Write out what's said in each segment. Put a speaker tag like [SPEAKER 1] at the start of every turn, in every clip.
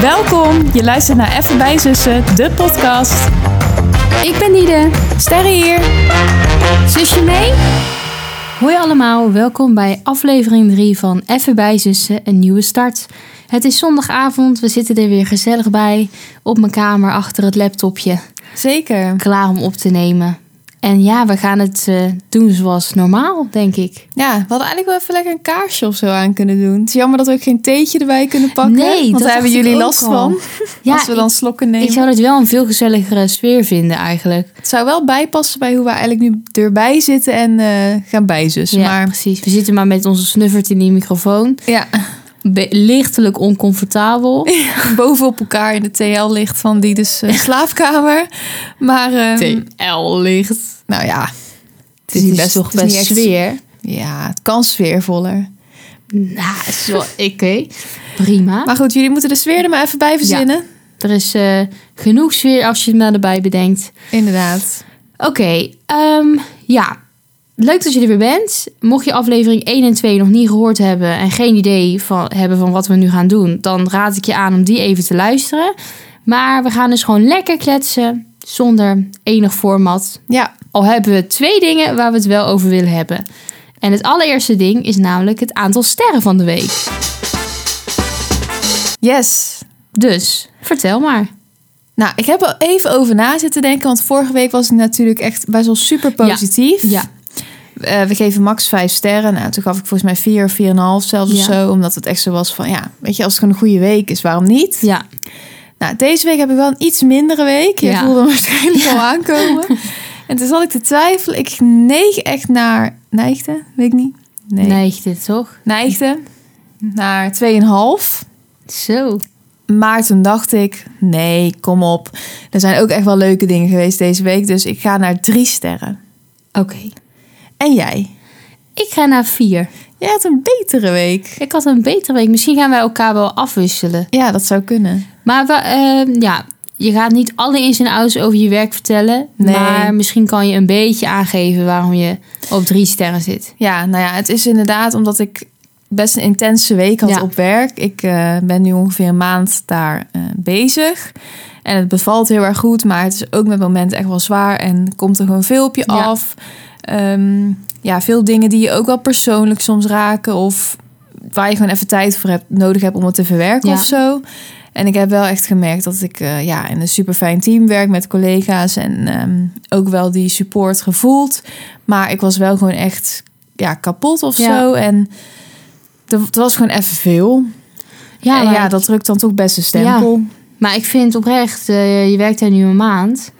[SPEAKER 1] Welkom, je luistert naar Even bij Zussen, de podcast.
[SPEAKER 2] Ik ben Nide.
[SPEAKER 1] Sterre hier.
[SPEAKER 2] Zusje mee? Hoi allemaal, welkom bij aflevering 3 van Even bij Zussen, een nieuwe start. Het is zondagavond, we zitten er weer gezellig bij op mijn kamer achter het laptopje,
[SPEAKER 1] Zeker.
[SPEAKER 2] klaar om op te nemen. En ja, we gaan het eh, doen zoals normaal, denk ik.
[SPEAKER 1] Ja, we hadden eigenlijk wel even lekker een kaarsje of zo aan kunnen doen. Het is jammer dat we ook geen theetje erbij kunnen pakken.
[SPEAKER 2] Nee, dat
[SPEAKER 1] want daar
[SPEAKER 2] dacht
[SPEAKER 1] hebben
[SPEAKER 2] ik
[SPEAKER 1] jullie
[SPEAKER 2] ook
[SPEAKER 1] last
[SPEAKER 2] al.
[SPEAKER 1] van.
[SPEAKER 2] Ja,
[SPEAKER 1] als we dan slokken
[SPEAKER 2] ik,
[SPEAKER 1] nemen.
[SPEAKER 2] ik zou het wel een veel gezelligere sfeer vinden eigenlijk.
[SPEAKER 1] Het zou wel bijpassen bij hoe we eigenlijk nu erbij zitten en eh, gaan bijzussen.
[SPEAKER 2] ja,
[SPEAKER 1] Maar
[SPEAKER 2] precies. We zitten maar met onze snuffert in die microfoon.
[SPEAKER 1] ja,
[SPEAKER 2] Be- lichtelijk oncomfortabel.
[SPEAKER 1] bovenop elkaar in de TL ligt van die dus eh, slaapkamer. Maar ehm,
[SPEAKER 2] TL-licht.
[SPEAKER 1] nou ja, het
[SPEAKER 2] Dit
[SPEAKER 1] niet
[SPEAKER 2] is
[SPEAKER 1] best-
[SPEAKER 2] toch
[SPEAKER 1] het is niet
[SPEAKER 2] best
[SPEAKER 1] echt-
[SPEAKER 2] sfeer?
[SPEAKER 1] Ja, het kan sfeervoller.
[SPEAKER 2] Nou, zo, oké. Prima.
[SPEAKER 1] Maar goed, jullie moeten de sfeer er maar even bij verzinnen.
[SPEAKER 2] er is eh, genoeg sfeer als je het maar erbij bedenkt.
[SPEAKER 1] Inderdaad.
[SPEAKER 2] Oké, ehm, ja. Leuk dat je er weer bent. Mocht je aflevering 1 en 2 nog niet gehoord hebben en geen idee van, hebben van wat we nu gaan doen, dan raad ik je aan om die even te luisteren. Maar we gaan dus gewoon lekker kletsen zonder enig format.
[SPEAKER 1] Ja,
[SPEAKER 2] Al hebben we twee dingen waar we het wel over willen hebben. En het allereerste ding is namelijk het aantal sterren van de week.
[SPEAKER 1] yes.
[SPEAKER 2] Dus vertel maar.
[SPEAKER 1] Nou, ik heb er even over na zitten denken, want vorige week was ik natuurlijk echt best wel super positief.
[SPEAKER 2] Ja,
[SPEAKER 1] Eh, we geven max vijf sterren. Nou, toen gaf ik volgens mij vier, vier en een half zelfs of
[SPEAKER 2] Ja.
[SPEAKER 1] zo. Omdat het echt zo was van, ja, weet je, als het gewoon een goede week is, waarom niet?
[SPEAKER 2] ja.
[SPEAKER 1] Nou, deze week heb ik wel een iets mindere week. Je
[SPEAKER 2] Ja.
[SPEAKER 1] voelde hem waarschijnlijk al aankomen. En toen zat ik te twijfelen. Ik neig echt naar... Neigde? Weet ik niet. Nee.
[SPEAKER 2] Neigt dit toch?
[SPEAKER 1] Neigde naar 2,5.
[SPEAKER 2] Zo.
[SPEAKER 1] Maar toen dacht ik, nee, kom op. Er zijn ook echt wel leuke dingen geweest deze week. Dus ik ga naar drie sterren.
[SPEAKER 2] Oké.
[SPEAKER 1] En jij?
[SPEAKER 2] Ik ga naar vier.
[SPEAKER 1] Jij had een betere week.
[SPEAKER 2] Ik had een betere week. Misschien gaan wij elkaar wel afwisselen.
[SPEAKER 1] Ja, dat zou kunnen.
[SPEAKER 2] Maar we, eh, ja, je gaat niet alle ins en outs over je werk vertellen.
[SPEAKER 1] Nee.
[SPEAKER 2] Maar misschien kan je een beetje aangeven waarom je op drie sterren zit.
[SPEAKER 1] Ja, nou ja, het is inderdaad omdat ik best een intense week had
[SPEAKER 2] Ja.
[SPEAKER 1] op werk. Ik eh, ben nu ongeveer een maand daar eh, bezig. En het bevalt heel erg goed, maar het is ook met momenten echt wel zwaar. En komt er gewoon veel op je
[SPEAKER 2] Ja.
[SPEAKER 1] af. Ehm, ja, veel dingen die je ook wel persoonlijk soms raken. Of waar je gewoon even tijd voor hebt, nodig hebt om het te verwerken
[SPEAKER 2] Ja.
[SPEAKER 1] of zo. En ik heb wel echt gemerkt dat ik eh, ja, in een super fijn team werk met collega's. En ehm, ook wel die support gevoeld. Maar ik was wel gewoon echt ja, kapot of
[SPEAKER 2] Ja.
[SPEAKER 1] zo. En er, er was gewoon even veel.
[SPEAKER 2] Eh, Ja,
[SPEAKER 1] en
[SPEAKER 2] maar,
[SPEAKER 1] ja, dat drukt dan toch best een stempel.
[SPEAKER 2] maar ik vind oprecht, eh, je werkt daar nu een maand.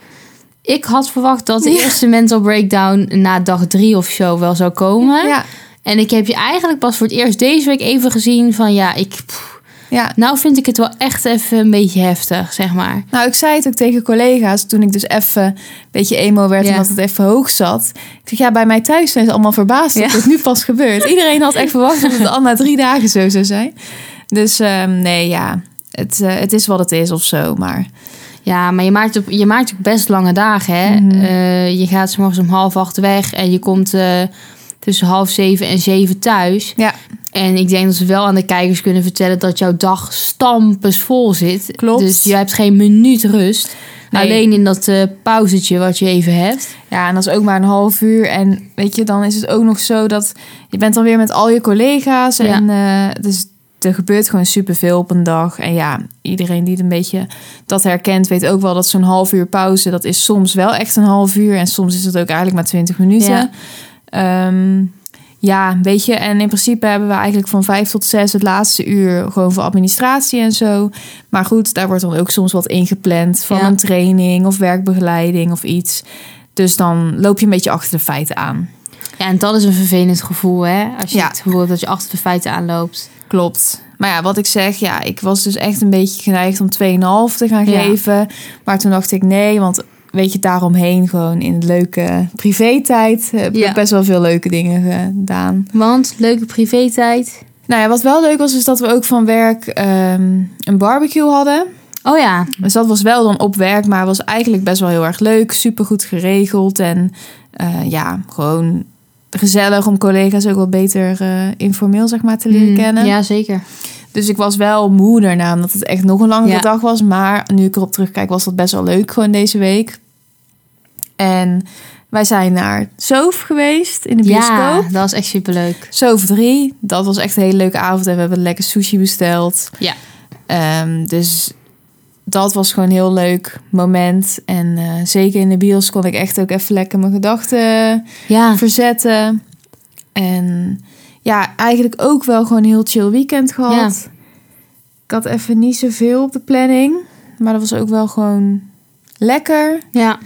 [SPEAKER 2] Ik had verwacht dat de
[SPEAKER 1] Ja.
[SPEAKER 2] eerste mental breakdown na dag drie of zo wel zou komen.
[SPEAKER 1] Ja,
[SPEAKER 2] En ik heb je eigenlijk pas voor het eerst deze week even gezien van ja, ik, pff,
[SPEAKER 1] ja.
[SPEAKER 2] nou vind ik het wel echt even een beetje heftig, zeg maar.
[SPEAKER 1] Nou, ik zei het ook tegen collega's toen ik dus even een beetje emo werd
[SPEAKER 2] Ja.
[SPEAKER 1] omdat het even hoog zat. Ik zeg, ja, bij mij thuis zijn ze allemaal verbaasd dat
[SPEAKER 2] Ja.
[SPEAKER 1] het nu pas gebeurt. Iedereen had echt verwacht dat het al na drie dagen zo zou zijn. Dus ehm, nee, ja, het, eh, het is wat het is of zo. Maar
[SPEAKER 2] Ja, maar je maakt, op, je maakt ook best lange dagen, hè?
[SPEAKER 1] Mhm.
[SPEAKER 2] Eh, je gaat 's morgens om half acht weg en je komt eh, tussen half zeven en zeven thuis.
[SPEAKER 1] Ja.
[SPEAKER 2] En ik denk dat ze wel aan de kijkers kunnen vertellen dat jouw dag stampensvol zit.
[SPEAKER 1] Klopt.
[SPEAKER 2] Dus je hebt geen minuut rust.
[SPEAKER 1] Nee.
[SPEAKER 2] Alleen in dat eh, pauzetje wat je even hebt.
[SPEAKER 1] Ja, en dat is ook maar een half uur. En weet je, dan is het ook nog zo dat je bent dan weer met al je collega's.
[SPEAKER 2] Ja.
[SPEAKER 1] En eh, dus er gebeurt gewoon superveel op een dag. En ja, iedereen die het een beetje dat herkent, weet ook wel dat zo'n half uur pauze, dat is soms wel echt een half uur. En soms is het ook eigenlijk maar 20 minuten. Ehm,
[SPEAKER 2] Ja.
[SPEAKER 1] Ja. ja, weet je, en in principe hebben we eigenlijk van vijf tot zes het laatste uur gewoon voor administratie en zo. Maar goed, daar wordt dan ook soms wat ingepland van
[SPEAKER 2] Ja.
[SPEAKER 1] een training of werkbegeleiding of iets. Dus dan loop je een beetje achter de feiten aan.
[SPEAKER 2] Ja, en dat is een vervelend gevoel, hè? Als je
[SPEAKER 1] Ja.
[SPEAKER 2] het gevoel hebt dat je achter de feiten aanloopt.
[SPEAKER 1] Klopt. Maar ja, wat ik zeg, ja, ik was dus echt een beetje geneigd om 2,5 te gaan
[SPEAKER 2] Ja.
[SPEAKER 1] geven. Maar toen dacht ik nee, want weet je, daaromheen gewoon in de leuke privé-tijd heb
[SPEAKER 2] Ja.
[SPEAKER 1] ik best wel veel leuke dingen gedaan.
[SPEAKER 2] Want leuke privé-tijd.
[SPEAKER 1] Nou ja, wat wel leuk was, is dat we ook van werk ehm, een barbecue hadden.
[SPEAKER 2] Oh ja,
[SPEAKER 1] Dus dat was wel dan op werk, maar was eigenlijk best wel heel erg leuk. Super goed geregeld en eh, ja, gewoon gezellig om collega's ook wat beter eh, informeel zeg maar te leren
[SPEAKER 2] Mm,
[SPEAKER 1] kennen.
[SPEAKER 2] Ja, zeker.
[SPEAKER 1] Dus ik was wel moe daarna, omdat het echt nog een langere
[SPEAKER 2] Ja.
[SPEAKER 1] dag was. Maar nu ik erop terugkijk, was dat best wel leuk gewoon deze week. En wij zijn naar Zoof geweest in de
[SPEAKER 2] Ja,
[SPEAKER 1] bioscoop.
[SPEAKER 2] dat was echt superleuk.
[SPEAKER 1] Zoof 3, dat was echt een hele leuke avond. En we hebben lekker sushi besteld.
[SPEAKER 2] Ja.
[SPEAKER 1] Ehm, dus dat was gewoon een heel leuk moment. En eh, zeker in de bios kon ik echt ook even lekker mijn gedachten
[SPEAKER 2] Ja,
[SPEAKER 1] verzetten. En ja, eigenlijk ook wel gewoon een heel chill weekend gehad. Ik had even niet zoveel op de planning. Maar dat was ook wel gewoon lekker.
[SPEAKER 2] ja.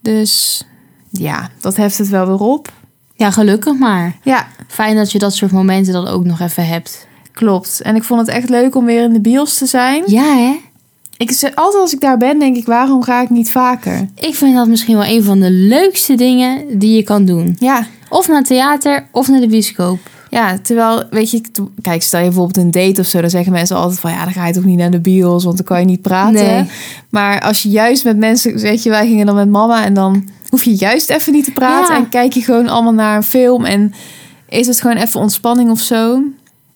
[SPEAKER 1] Dus ja, dat heft het wel weer op.
[SPEAKER 2] ja gelukkig maar.
[SPEAKER 1] Ja,
[SPEAKER 2] Fijn dat je dat soort momenten dan ook nog even hebt.
[SPEAKER 1] klopt. En ik vond het echt leuk om weer in de bios te zijn.
[SPEAKER 2] Ja, hè?
[SPEAKER 1] Ik, zeg- altijd als ik daar ben, denk ik, waarom ga ik niet vaker?
[SPEAKER 2] Ik vind dat misschien wel een van de leukste dingen die je kan doen.
[SPEAKER 1] Ja,
[SPEAKER 2] Of naar het theater, of naar de bioscoop.
[SPEAKER 1] Ja, terwijl, weet je, ik doe- kijk, stel je bijvoorbeeld een date of zo, dan zeggen mensen altijd van ja, dan ga je toch niet naar de bios, want dan kan je niet praten.
[SPEAKER 2] Nee.
[SPEAKER 1] Maar als je juist met mensen, weet je, wij gingen dan met mama en dan hoef je juist even niet te praten
[SPEAKER 2] Ja.
[SPEAKER 1] en kijk je gewoon allemaal naar een film en is het gewoon even ontspanning of zo.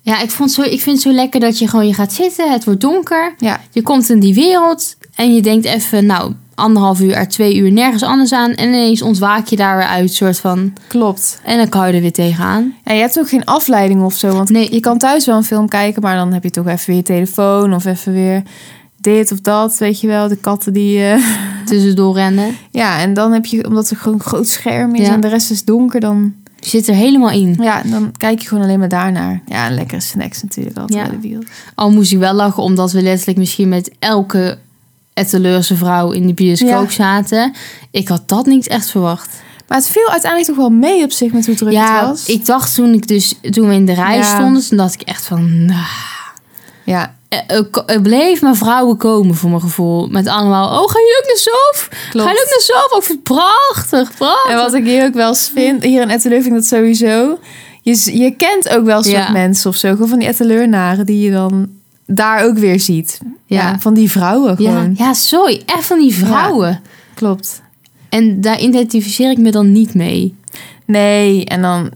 [SPEAKER 2] Ja, ik, vond zo, ik vind het zo lekker dat je gewoon je gaat zitten, het wordt donker.
[SPEAKER 1] Ja,
[SPEAKER 2] Je komt in die wereld en je denkt even, nou, anderhalf uur à twee uur nergens anders aan. En ineens ontwaak je daar weer uit, soort van.
[SPEAKER 1] klopt.
[SPEAKER 2] En dan kan je er weer tegenaan.
[SPEAKER 1] En je hebt ook geen afleiding of zo, want
[SPEAKER 2] Nee.
[SPEAKER 1] je kan thuis wel een film kijken, maar dan heb je toch even weer je telefoon of even weer dit of dat, weet je wel, de katten die... eh,
[SPEAKER 2] Tussendoor rennen.
[SPEAKER 1] Ja, en dan heb je, omdat er gewoon een groot scherm is
[SPEAKER 2] Ja.
[SPEAKER 1] en de rest is donker, dan,
[SPEAKER 2] Je zit er helemaal in.
[SPEAKER 1] ja, dan kijk je gewoon alleen maar daarnaar. Ja, en lekkere snacks natuurlijk altijd
[SPEAKER 2] Ja.
[SPEAKER 1] bij de bios.
[SPEAKER 2] Al moest ik wel lachen, omdat we letterlijk misschien met elke Etteleurse vrouw in de bioscoop
[SPEAKER 1] Ja.
[SPEAKER 2] zaten. Ik had dat niet echt verwacht.
[SPEAKER 1] Maar het viel uiteindelijk toch wel mee op zich met hoe druk het
[SPEAKER 2] ja,
[SPEAKER 1] was.
[SPEAKER 2] ik dacht toen, ik dus, toen we in de rij
[SPEAKER 1] Ja.
[SPEAKER 2] stonden, toen dacht ik echt van... nou,
[SPEAKER 1] Ja,
[SPEAKER 2] Eh, eh, ko- Er bleef maar vrouwen komen voor mijn gevoel. Met allemaal, oh, ga je ook naar Sof? Ga
[SPEAKER 1] Klopt.
[SPEAKER 2] je ook naar Sof? Oh, Ik vind het prachtig, prachtig.
[SPEAKER 1] en wat ik hier ook wel eens vind, hier in Etteleur vind ik dat sowieso. Je, z- je kent ook wel soort
[SPEAKER 2] Ja.
[SPEAKER 1] mensen of zo, gewoon van die Etteleurnaren die je dan daar ook weer ziet. Ja,
[SPEAKER 2] ja.
[SPEAKER 1] van die vrouwen
[SPEAKER 2] Ja.
[SPEAKER 1] gewoon.
[SPEAKER 2] ja, sorry. Echt van die vrouwen.
[SPEAKER 1] Klopt.
[SPEAKER 2] En daar identificeer ik me dan niet mee.
[SPEAKER 1] Nee, en dan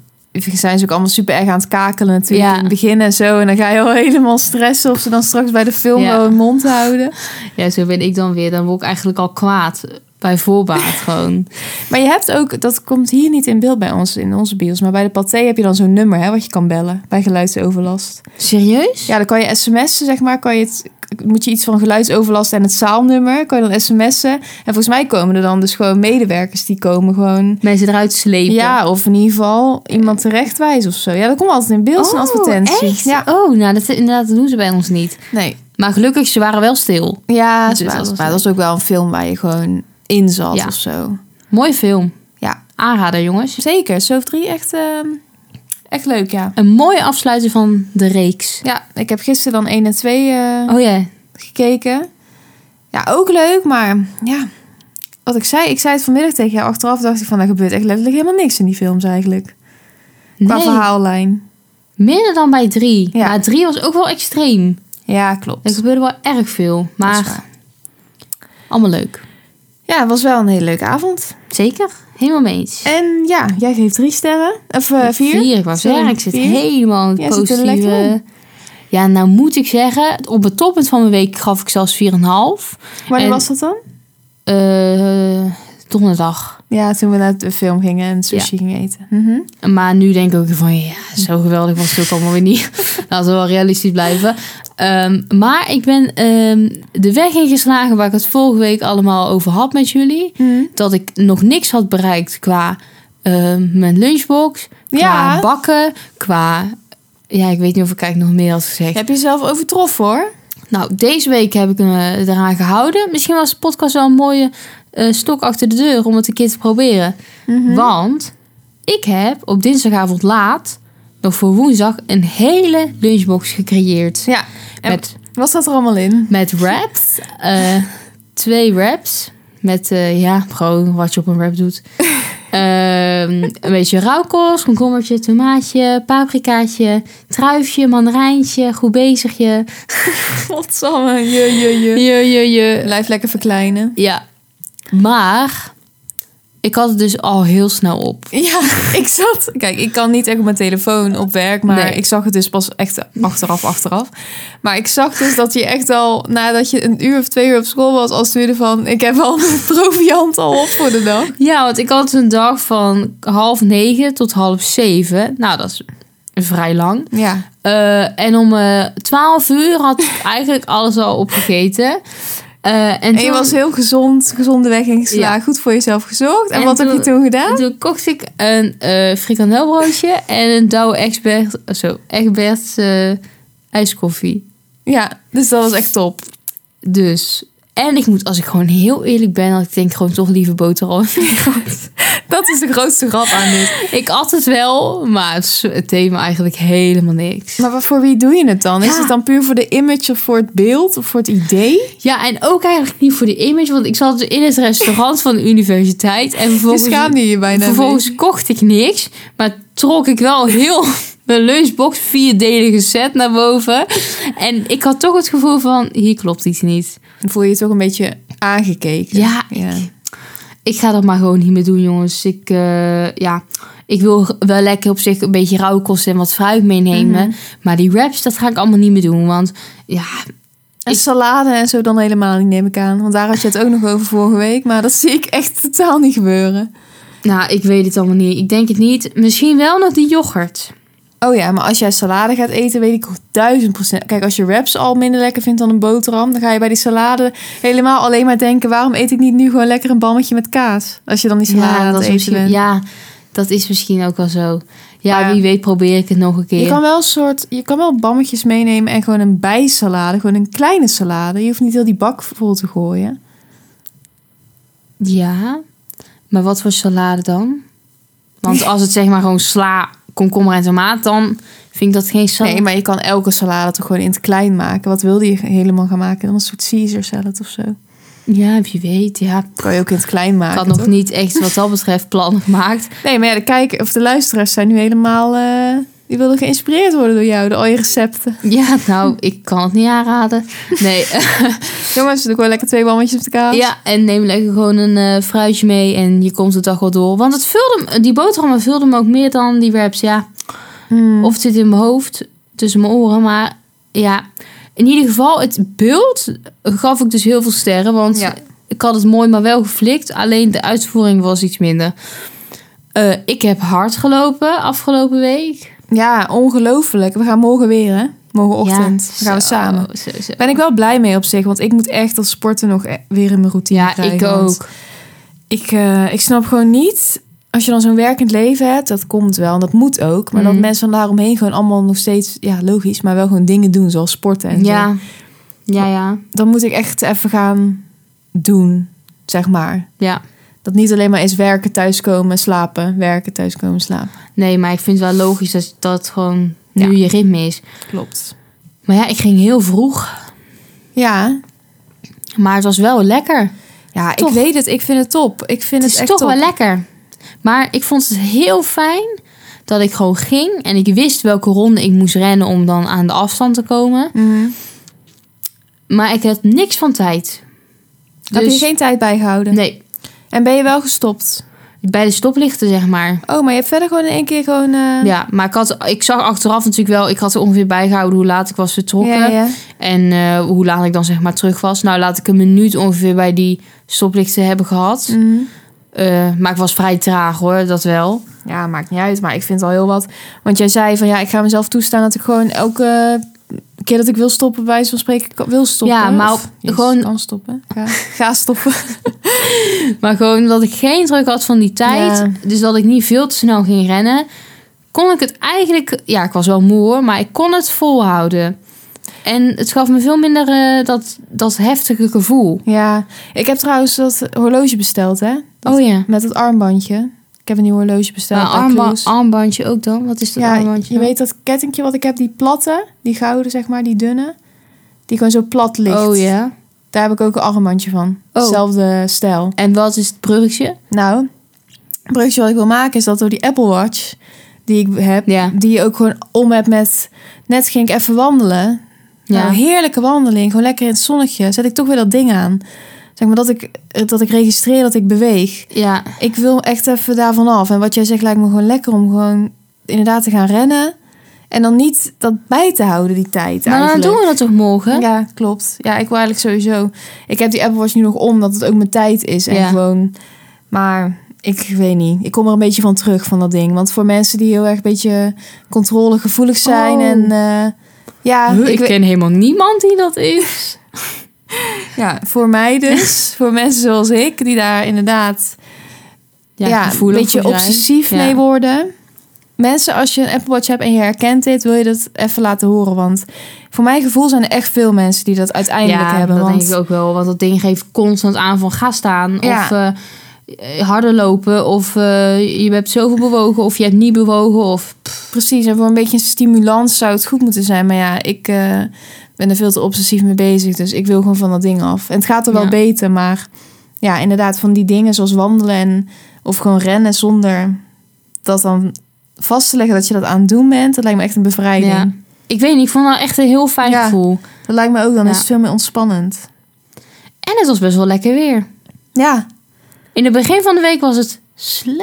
[SPEAKER 1] zijn ze ook allemaal super erg aan het kakelen natuurlijk
[SPEAKER 2] Ja.
[SPEAKER 1] in het begin en zo. En dan ga je al helemaal stressen of ze dan straks bij de film
[SPEAKER 2] Ja.
[SPEAKER 1] wel hun mond houden.
[SPEAKER 2] Ja, zo ben ik dan weer. Dan word ik eigenlijk al kwaad. Bij voorbaat gewoon.
[SPEAKER 1] Maar je hebt ook, dat komt hier niet in beeld bij ons, in onze bios. Maar bij de Pathé heb je dan zo'n nummer hè, wat je kan bellen bij geluidsoverlast.
[SPEAKER 2] Serieus?
[SPEAKER 1] Ja, dan kan je sms'en, zeg maar. Kan je het, moet je iets van geluidsoverlast en het zaalnummer, kan je dan sms'en. En volgens mij komen er dan dus gewoon medewerkers die komen gewoon...
[SPEAKER 2] Mensen eruit slepen.
[SPEAKER 1] Ja, of in ieder geval iemand terechtwijzen of zo. Ja, dat komt altijd in beeld, een
[SPEAKER 2] Oh,
[SPEAKER 1] advertentie.
[SPEAKER 2] echt?
[SPEAKER 1] Ja,
[SPEAKER 2] Oh, nou, dat, inderdaad, dat doen ze bij ons niet.
[SPEAKER 1] nee.
[SPEAKER 2] Maar gelukkig, ze waren wel stil.
[SPEAKER 1] Ja,
[SPEAKER 2] Dus
[SPEAKER 1] dus
[SPEAKER 2] dat
[SPEAKER 1] dat
[SPEAKER 2] was
[SPEAKER 1] maar dat was ook wel een film waar je gewoon in zat
[SPEAKER 2] Ja.
[SPEAKER 1] of zo.
[SPEAKER 2] Mooi film.
[SPEAKER 1] Ja.
[SPEAKER 2] Aanrader, jongens.
[SPEAKER 1] Zeker, Sof 3 echt, ehm, echt leuk, ja.
[SPEAKER 2] Een mooie afsluiting van de reeks.
[SPEAKER 1] Ja, ik heb gisteren dan 1 en 2 eh,
[SPEAKER 2] Oh ja,
[SPEAKER 1] gekeken. Ja, ook leuk, maar ja... Wat ik zei, ik zei het vanmiddag tegen jou. Achteraf dacht ik van, er gebeurt echt letterlijk helemaal niks in die films eigenlijk. Qua
[SPEAKER 2] nee.
[SPEAKER 1] verhaallijn.
[SPEAKER 2] Minder dan bij drie.
[SPEAKER 1] Ja.
[SPEAKER 2] Maar drie was ook wel extreem.
[SPEAKER 1] Ja, klopt.
[SPEAKER 2] Er gebeurde wel erg veel.
[SPEAKER 1] Dat is
[SPEAKER 2] Maar
[SPEAKER 1] waar.
[SPEAKER 2] allemaal leuk.
[SPEAKER 1] Ja, het was wel een hele leuke avond.
[SPEAKER 2] Zeker. Helemaal mee eens.
[SPEAKER 1] En ja, jij geeft drie sterren. Of eh, vier.
[SPEAKER 2] Vier, ik wou
[SPEAKER 1] Sorry,
[SPEAKER 2] zeggen. Ik zit
[SPEAKER 1] vier.
[SPEAKER 2] helemaal in
[SPEAKER 1] Jij
[SPEAKER 2] het
[SPEAKER 1] zit er lekker
[SPEAKER 2] positieve... Ja, nou moet ik zeggen. Op het toppunt van mijn week gaf ik zelfs 4,5.
[SPEAKER 1] Wanneer
[SPEAKER 2] En-
[SPEAKER 1] was dat dan?
[SPEAKER 2] Eh donderdag.
[SPEAKER 1] Ja, toen we naar de film gingen en sushi gingen eten. Mhm.
[SPEAKER 2] Maar nu denk ik ook van ja, zo geweldig was het ook allemaal weer niet. Laten we wel realistisch blijven. Ehm, maar ik ben ehm, de weg ingeslagen waar ik het vorige week allemaal over had met jullie.
[SPEAKER 1] Mhm.
[SPEAKER 2] dat ik nog niks had bereikt qua eh, mijn lunchbox, qua
[SPEAKER 1] Ja.
[SPEAKER 2] bakken, qua... Ja, ik weet niet of ik eigenlijk nog meer had gezegd.
[SPEAKER 1] Heb je zelf overtroffen hoor.
[SPEAKER 2] Nou, deze week heb ik me eraan gehouden. Misschien was de podcast wel een mooie eh, stok achter de deur om het een keer te proberen. Mhm.
[SPEAKER 1] Hm?
[SPEAKER 2] Want ik heb op dinsdagavond laat nog voor woensdag een hele lunchbox gecreëerd.
[SPEAKER 1] Ja. En
[SPEAKER 2] Met,
[SPEAKER 1] Wat staat er allemaal in?
[SPEAKER 2] met wraps. eh, twee wraps. Met, eh, ja, gewoon wat je op een wrap doet. Ehm, een beetje rauwkost, komkommertje, tomaatje, paprikaatje, truifje, mandarijntje, goed bezigje.
[SPEAKER 1] Godsamme, je, je, je.
[SPEAKER 2] Je, je, je.
[SPEAKER 1] Blijf lekker verkleinen.
[SPEAKER 2] Ja. Maar Ik had het dus al heel snel op.
[SPEAKER 1] Ja, ik zat. Kijk, ik kan niet echt op mijn telefoon op werk, maar
[SPEAKER 2] Nee.
[SPEAKER 1] ik zag het dus pas echt achteraf, achteraf. Maar ik zag dus dat je echt al nadat je een uur of twee uur op school was, als stuurde van: Ik heb al mijn proviant al op voor de dag.
[SPEAKER 2] Ja, want ik had een dag van half negen tot half zeven. Nou, dat is vrij lang.
[SPEAKER 1] Ja,
[SPEAKER 2] Eh, en om eh 12 uur had ik eigenlijk alles al opgegeten. Eh, en,
[SPEAKER 1] en
[SPEAKER 2] toen,
[SPEAKER 1] je was heel gezond, gezonde weg ingeslagen, goed voor jezelf gezorgd. En,
[SPEAKER 2] En
[SPEAKER 1] wat heb je
[SPEAKER 2] toen-
[SPEAKER 1] toen gedaan?
[SPEAKER 2] toen kocht ik een eh frikandelbroodje en een Douwe Egberts, oh, zo, Egberts eh, ijskoffie.
[SPEAKER 1] Ja, dus dat was echt top.
[SPEAKER 2] Dus. En ik moet, als ik gewoon heel eerlijk ben, had ik denk ik gewoon toch liever boterham.
[SPEAKER 1] Dat is de grootste grap aan dit.
[SPEAKER 2] ik at het wel, maar het, is- het deed me eigenlijk helemaal niks.
[SPEAKER 1] Maar wat- voor wie doe je het dan? Is
[SPEAKER 2] Ja.
[SPEAKER 1] het dan puur voor de image of voor het beeld of voor het idee?
[SPEAKER 2] Ja, en ook eigenlijk niet voor de image, want ik zat dus in het restaurant van de universiteit. En
[SPEAKER 1] Je
[SPEAKER 2] vervolgens
[SPEAKER 1] schaamde je bijna.
[SPEAKER 2] Vervolgens kocht ik niks, maar trok ik wel heel mijn lunchbox vierdelige set naar boven. En ik had toch het gevoel van, hier klopt iets niet.
[SPEAKER 1] mee. voel je je toch een beetje aangekeken.
[SPEAKER 2] Ja,
[SPEAKER 1] ja.
[SPEAKER 2] ik ga dat maar gewoon niet meer doen, jongens. Ik, eh, ja, ik wil wel lekker op zich een beetje rauwkost en wat fruit meenemen.
[SPEAKER 1] Mhm.
[SPEAKER 2] Maar die wraps, dat ga ik allemaal niet meer doen, want ja...
[SPEAKER 1] En salade en zo dan helemaal niet, neem ik aan. Want daar had je het ook nog over vorige week. Maar dat zie ik echt totaal niet gebeuren.
[SPEAKER 2] Nou, ik weet het allemaal niet. Ik denk het niet. Misschien wel nog die yoghurt.
[SPEAKER 1] Oh ja, maar als jij salade gaat eten, weet ik duizend procent. Kijk, als je wraps al minder lekker vindt dan een boterham... dan ga je bij die salade helemaal alleen maar denken... waarom eet ik niet nu gewoon lekker een bammetje met kaas? Als je dan die salade aan het
[SPEAKER 2] dat is
[SPEAKER 1] eten
[SPEAKER 2] misschien,
[SPEAKER 1] bent.
[SPEAKER 2] ja, dat is misschien ook wel zo. Ja,
[SPEAKER 1] Maar-
[SPEAKER 2] wie weet probeer ik het nog een keer.
[SPEAKER 1] Je kan wel een soort, je kan wel bammetjes meenemen en gewoon een bijsalade, gewoon een kleine salade. Je hoeft niet heel die bak vol te gooien.
[SPEAKER 2] Ja, maar wat voor salade dan? Want als het zeg maar gewoon sla, komkommer en tomaat, dan vind ik dat geen salade.
[SPEAKER 1] Nee, maar je kan elke salade toch gewoon in het klein maken. Wat wilde je helemaal gaan maken? Dan een soort Caesar salad of zo.
[SPEAKER 2] Ja, wie weet, ja. Ik
[SPEAKER 1] Kan je ook in het klein maken.
[SPEAKER 2] had nog
[SPEAKER 1] toch?
[SPEAKER 2] niet echt wat dat betreft plannen gemaakt.
[SPEAKER 1] Nee, maar ja, de kijker of de luisteraars zijn nu helemaal. eh, die wilden geïnspireerd worden door jou, door al je recepten.
[SPEAKER 2] Ja, nou, ik kan het niet aanraden. Nee,
[SPEAKER 1] Jongens, doe gewoon lekker twee bammetjes op de kaas.
[SPEAKER 2] ja, en neem lekker gewoon een eh, fruitje mee en je komt de dag wel door. Want het vulde, hem- die boterhammen vulden me ook meer dan die wraps, ja.
[SPEAKER 1] Mm.
[SPEAKER 2] Of het zit in mijn hoofd, tussen mijn oren. Maar ja, in ieder geval, het beeld gaf ik dus heel veel sterren. Want
[SPEAKER 1] Ja.
[SPEAKER 2] ik had het mooi, maar wel geflikt. Alleen de uitvoering was iets minder. Eh, ik heb hard gelopen afgelopen week.
[SPEAKER 1] ja ongelooflijk. We gaan morgen weer, hè? Morgenochtend.
[SPEAKER 2] Ja,
[SPEAKER 1] Dan gaan we
[SPEAKER 2] zo,
[SPEAKER 1] samen.
[SPEAKER 2] zo, zo.
[SPEAKER 1] Ben ik wel blij mee op zich, want ik moet echt als sporten nog e- weer in mijn routine
[SPEAKER 2] Ja,
[SPEAKER 1] krijgen,
[SPEAKER 2] ik
[SPEAKER 1] want
[SPEAKER 2] ook.
[SPEAKER 1] Ik, eh, ik snap gewoon niet, als je dan zo'n werkend leven hebt, dat komt wel en dat moet ook. Maar dat
[SPEAKER 2] Mhm.
[SPEAKER 1] mensen van daaromheen gewoon allemaal nog steeds, ja logisch, maar wel gewoon dingen doen zoals sporten en zo.
[SPEAKER 2] Ja. ja, ja,
[SPEAKER 1] Dan moet ik echt even gaan doen, zeg maar.
[SPEAKER 2] ja.
[SPEAKER 1] Dat niet alleen maar is werken, thuiskomen, slapen, werken, thuiskomen, slapen.
[SPEAKER 2] Nee, maar ik vind het wel logisch dat dat gewoon nu
[SPEAKER 1] Ja.
[SPEAKER 2] je ritme is.
[SPEAKER 1] Klopt.
[SPEAKER 2] Maar ja, ik ging heel vroeg.
[SPEAKER 1] Ja,
[SPEAKER 2] Maar het was wel lekker.
[SPEAKER 1] ja ik
[SPEAKER 2] Toch.
[SPEAKER 1] weet het. Ik vind het top. Ik vind het,
[SPEAKER 2] het is
[SPEAKER 1] echt
[SPEAKER 2] toch
[SPEAKER 1] top.
[SPEAKER 2] wel lekker. Maar ik vond het heel fijn dat ik gewoon ging. En ik wist welke ronde ik moest rennen om dan aan de afstand te komen.
[SPEAKER 1] Mhm.
[SPEAKER 2] Maar ik had niks van tijd.
[SPEAKER 1] Heb je
[SPEAKER 2] Dus-
[SPEAKER 1] geen tijd bijgehouden?
[SPEAKER 2] Nee,
[SPEAKER 1] En ben je wel gestopt?
[SPEAKER 2] bij de stoplichten zeg maar.
[SPEAKER 1] Oh, maar je hebt verder gewoon in één keer gewoon... eh,
[SPEAKER 2] Ja, maar ik, had, ik zag achteraf natuurlijk wel... Ik had er ongeveer bijgehouden hoe laat ik was vertrokken.
[SPEAKER 1] Ja, ja.
[SPEAKER 2] En eh, hoe laat ik dan zeg maar terug was. Nou, laat ik een minuut ongeveer bij die stoplichten hebben gehad.
[SPEAKER 1] Mhm.
[SPEAKER 2] Eh, maar ik was vrij traag hoor, dat wel.
[SPEAKER 1] Ja, maakt niet uit, maar ik vind het al heel wat. Want jij zei van ja, ik ga mezelf toestaan dat ik gewoon elke keer dat ik wil stoppen, bij wijze van spreken, kan- wil stoppen.
[SPEAKER 2] Ja, maar
[SPEAKER 1] Of,
[SPEAKER 2] op-
[SPEAKER 1] jezus,
[SPEAKER 2] gewoon-
[SPEAKER 1] kan stoppen. Ga, ga stoppen.
[SPEAKER 2] Maar gewoon dat ik geen druk had van die tijd.
[SPEAKER 1] Ja.
[SPEAKER 2] Dus dat ik niet veel te snel ging rennen. Kon ik het eigenlijk... Ja, ik was wel moe hoor. Maar ik kon het volhouden. En het gaf me veel minder eh, dat, dat heftige gevoel.
[SPEAKER 1] ja, ik heb trouwens dat horloge besteld, hè? Dat-
[SPEAKER 2] oh ja.
[SPEAKER 1] Met het armbandje. Ik heb een nieuw horloge besteld.
[SPEAKER 2] Een
[SPEAKER 1] bij
[SPEAKER 2] armba-
[SPEAKER 1] Clues.
[SPEAKER 2] armbandje ook dan? Wat is dat
[SPEAKER 1] ja,
[SPEAKER 2] armbandje?
[SPEAKER 1] je
[SPEAKER 2] dan?
[SPEAKER 1] weet dat kettingje wat ik heb, die platte, die gouden zeg maar, die dunne, die gewoon zo plat ligt.
[SPEAKER 2] Oh ja.
[SPEAKER 1] Daar heb ik ook een armbandje van.
[SPEAKER 2] Oh.
[SPEAKER 1] Hetzelfde stijl.
[SPEAKER 2] En wat is het bruggetje?
[SPEAKER 1] Nou, het bruggetje wat ik wil maken is dat door die Apple Watch die ik heb,
[SPEAKER 2] Ja.
[SPEAKER 1] die je ook gewoon om hebt met. Net ging ik even wandelen.
[SPEAKER 2] Ja.
[SPEAKER 1] Nou, heerlijke wandeling. Gewoon lekker in het zonnetje. Zet ik toch weer dat ding aan. Zeg maar dat ik, dat ik registreer dat ik beweeg.
[SPEAKER 2] Ja,
[SPEAKER 1] Ik wil echt even daarvan af. En wat jij zegt lijkt me gewoon lekker om gewoon inderdaad te gaan rennen. En dan niet dat bij te houden, die tijd
[SPEAKER 2] maar dan
[SPEAKER 1] eigenlijk.
[SPEAKER 2] doen we dat toch morgen?
[SPEAKER 1] Ja, klopt. Ja, ik wil eigenlijk sowieso... Ik heb die Apple Watch nu nog om, dat het ook mijn tijd is. En
[SPEAKER 2] Ja.
[SPEAKER 1] gewoon... Maar ik weet niet. Ik kom er een beetje van terug van dat ding. Want voor mensen die heel erg een beetje controlegevoelig zijn
[SPEAKER 2] Oh.
[SPEAKER 1] en... eh, ja,
[SPEAKER 2] Huh,
[SPEAKER 1] ik
[SPEAKER 2] ik
[SPEAKER 1] weet-
[SPEAKER 2] ken helemaal niemand die dat is.
[SPEAKER 1] ja, voor mij dus. voor mensen zoals ik, die daar inderdaad ja, een
[SPEAKER 2] gevoelig
[SPEAKER 1] beetje
[SPEAKER 2] voor zijn.
[SPEAKER 1] obsessief
[SPEAKER 2] Ja.
[SPEAKER 1] mee worden. Mensen, als je een Apple Watch hebt en je herkent dit, wil je dat even laten horen. Want voor mijn gevoel zijn er echt veel mensen die dat uiteindelijk
[SPEAKER 2] ja,
[SPEAKER 1] hebben.
[SPEAKER 2] dat
[SPEAKER 1] want
[SPEAKER 2] denk ik ook wel. Want dat ding geeft constant aan van ga staan.
[SPEAKER 1] Ja.
[SPEAKER 2] Of eh, harder lopen. Of eh, je hebt zoveel bewogen. Of je hebt niet bewogen. Of
[SPEAKER 1] Precies, en voor een beetje een stimulans zou het goed moeten zijn. Maar ja, ik eh, ben er veel te obsessief mee bezig. Dus ik wil gewoon van dat ding af. En het gaat er wel
[SPEAKER 2] Ja.
[SPEAKER 1] beter, maar ja, inderdaad, van die dingen zoals wandelen en, of gewoon rennen zonder dat dan vast te leggen dat je dat aan het doen bent. Dat lijkt me echt een bevrijding.
[SPEAKER 2] Ja. Ik weet niet, ik vond dat echt een heel fijn
[SPEAKER 1] Ja.
[SPEAKER 2] gevoel.
[SPEAKER 1] Dat lijkt me ook, dan
[SPEAKER 2] Ja.
[SPEAKER 1] is het veel meer ontspannend.
[SPEAKER 2] En het was best wel lekker weer.
[SPEAKER 1] Ja,
[SPEAKER 2] In het begin van de week was het slecht.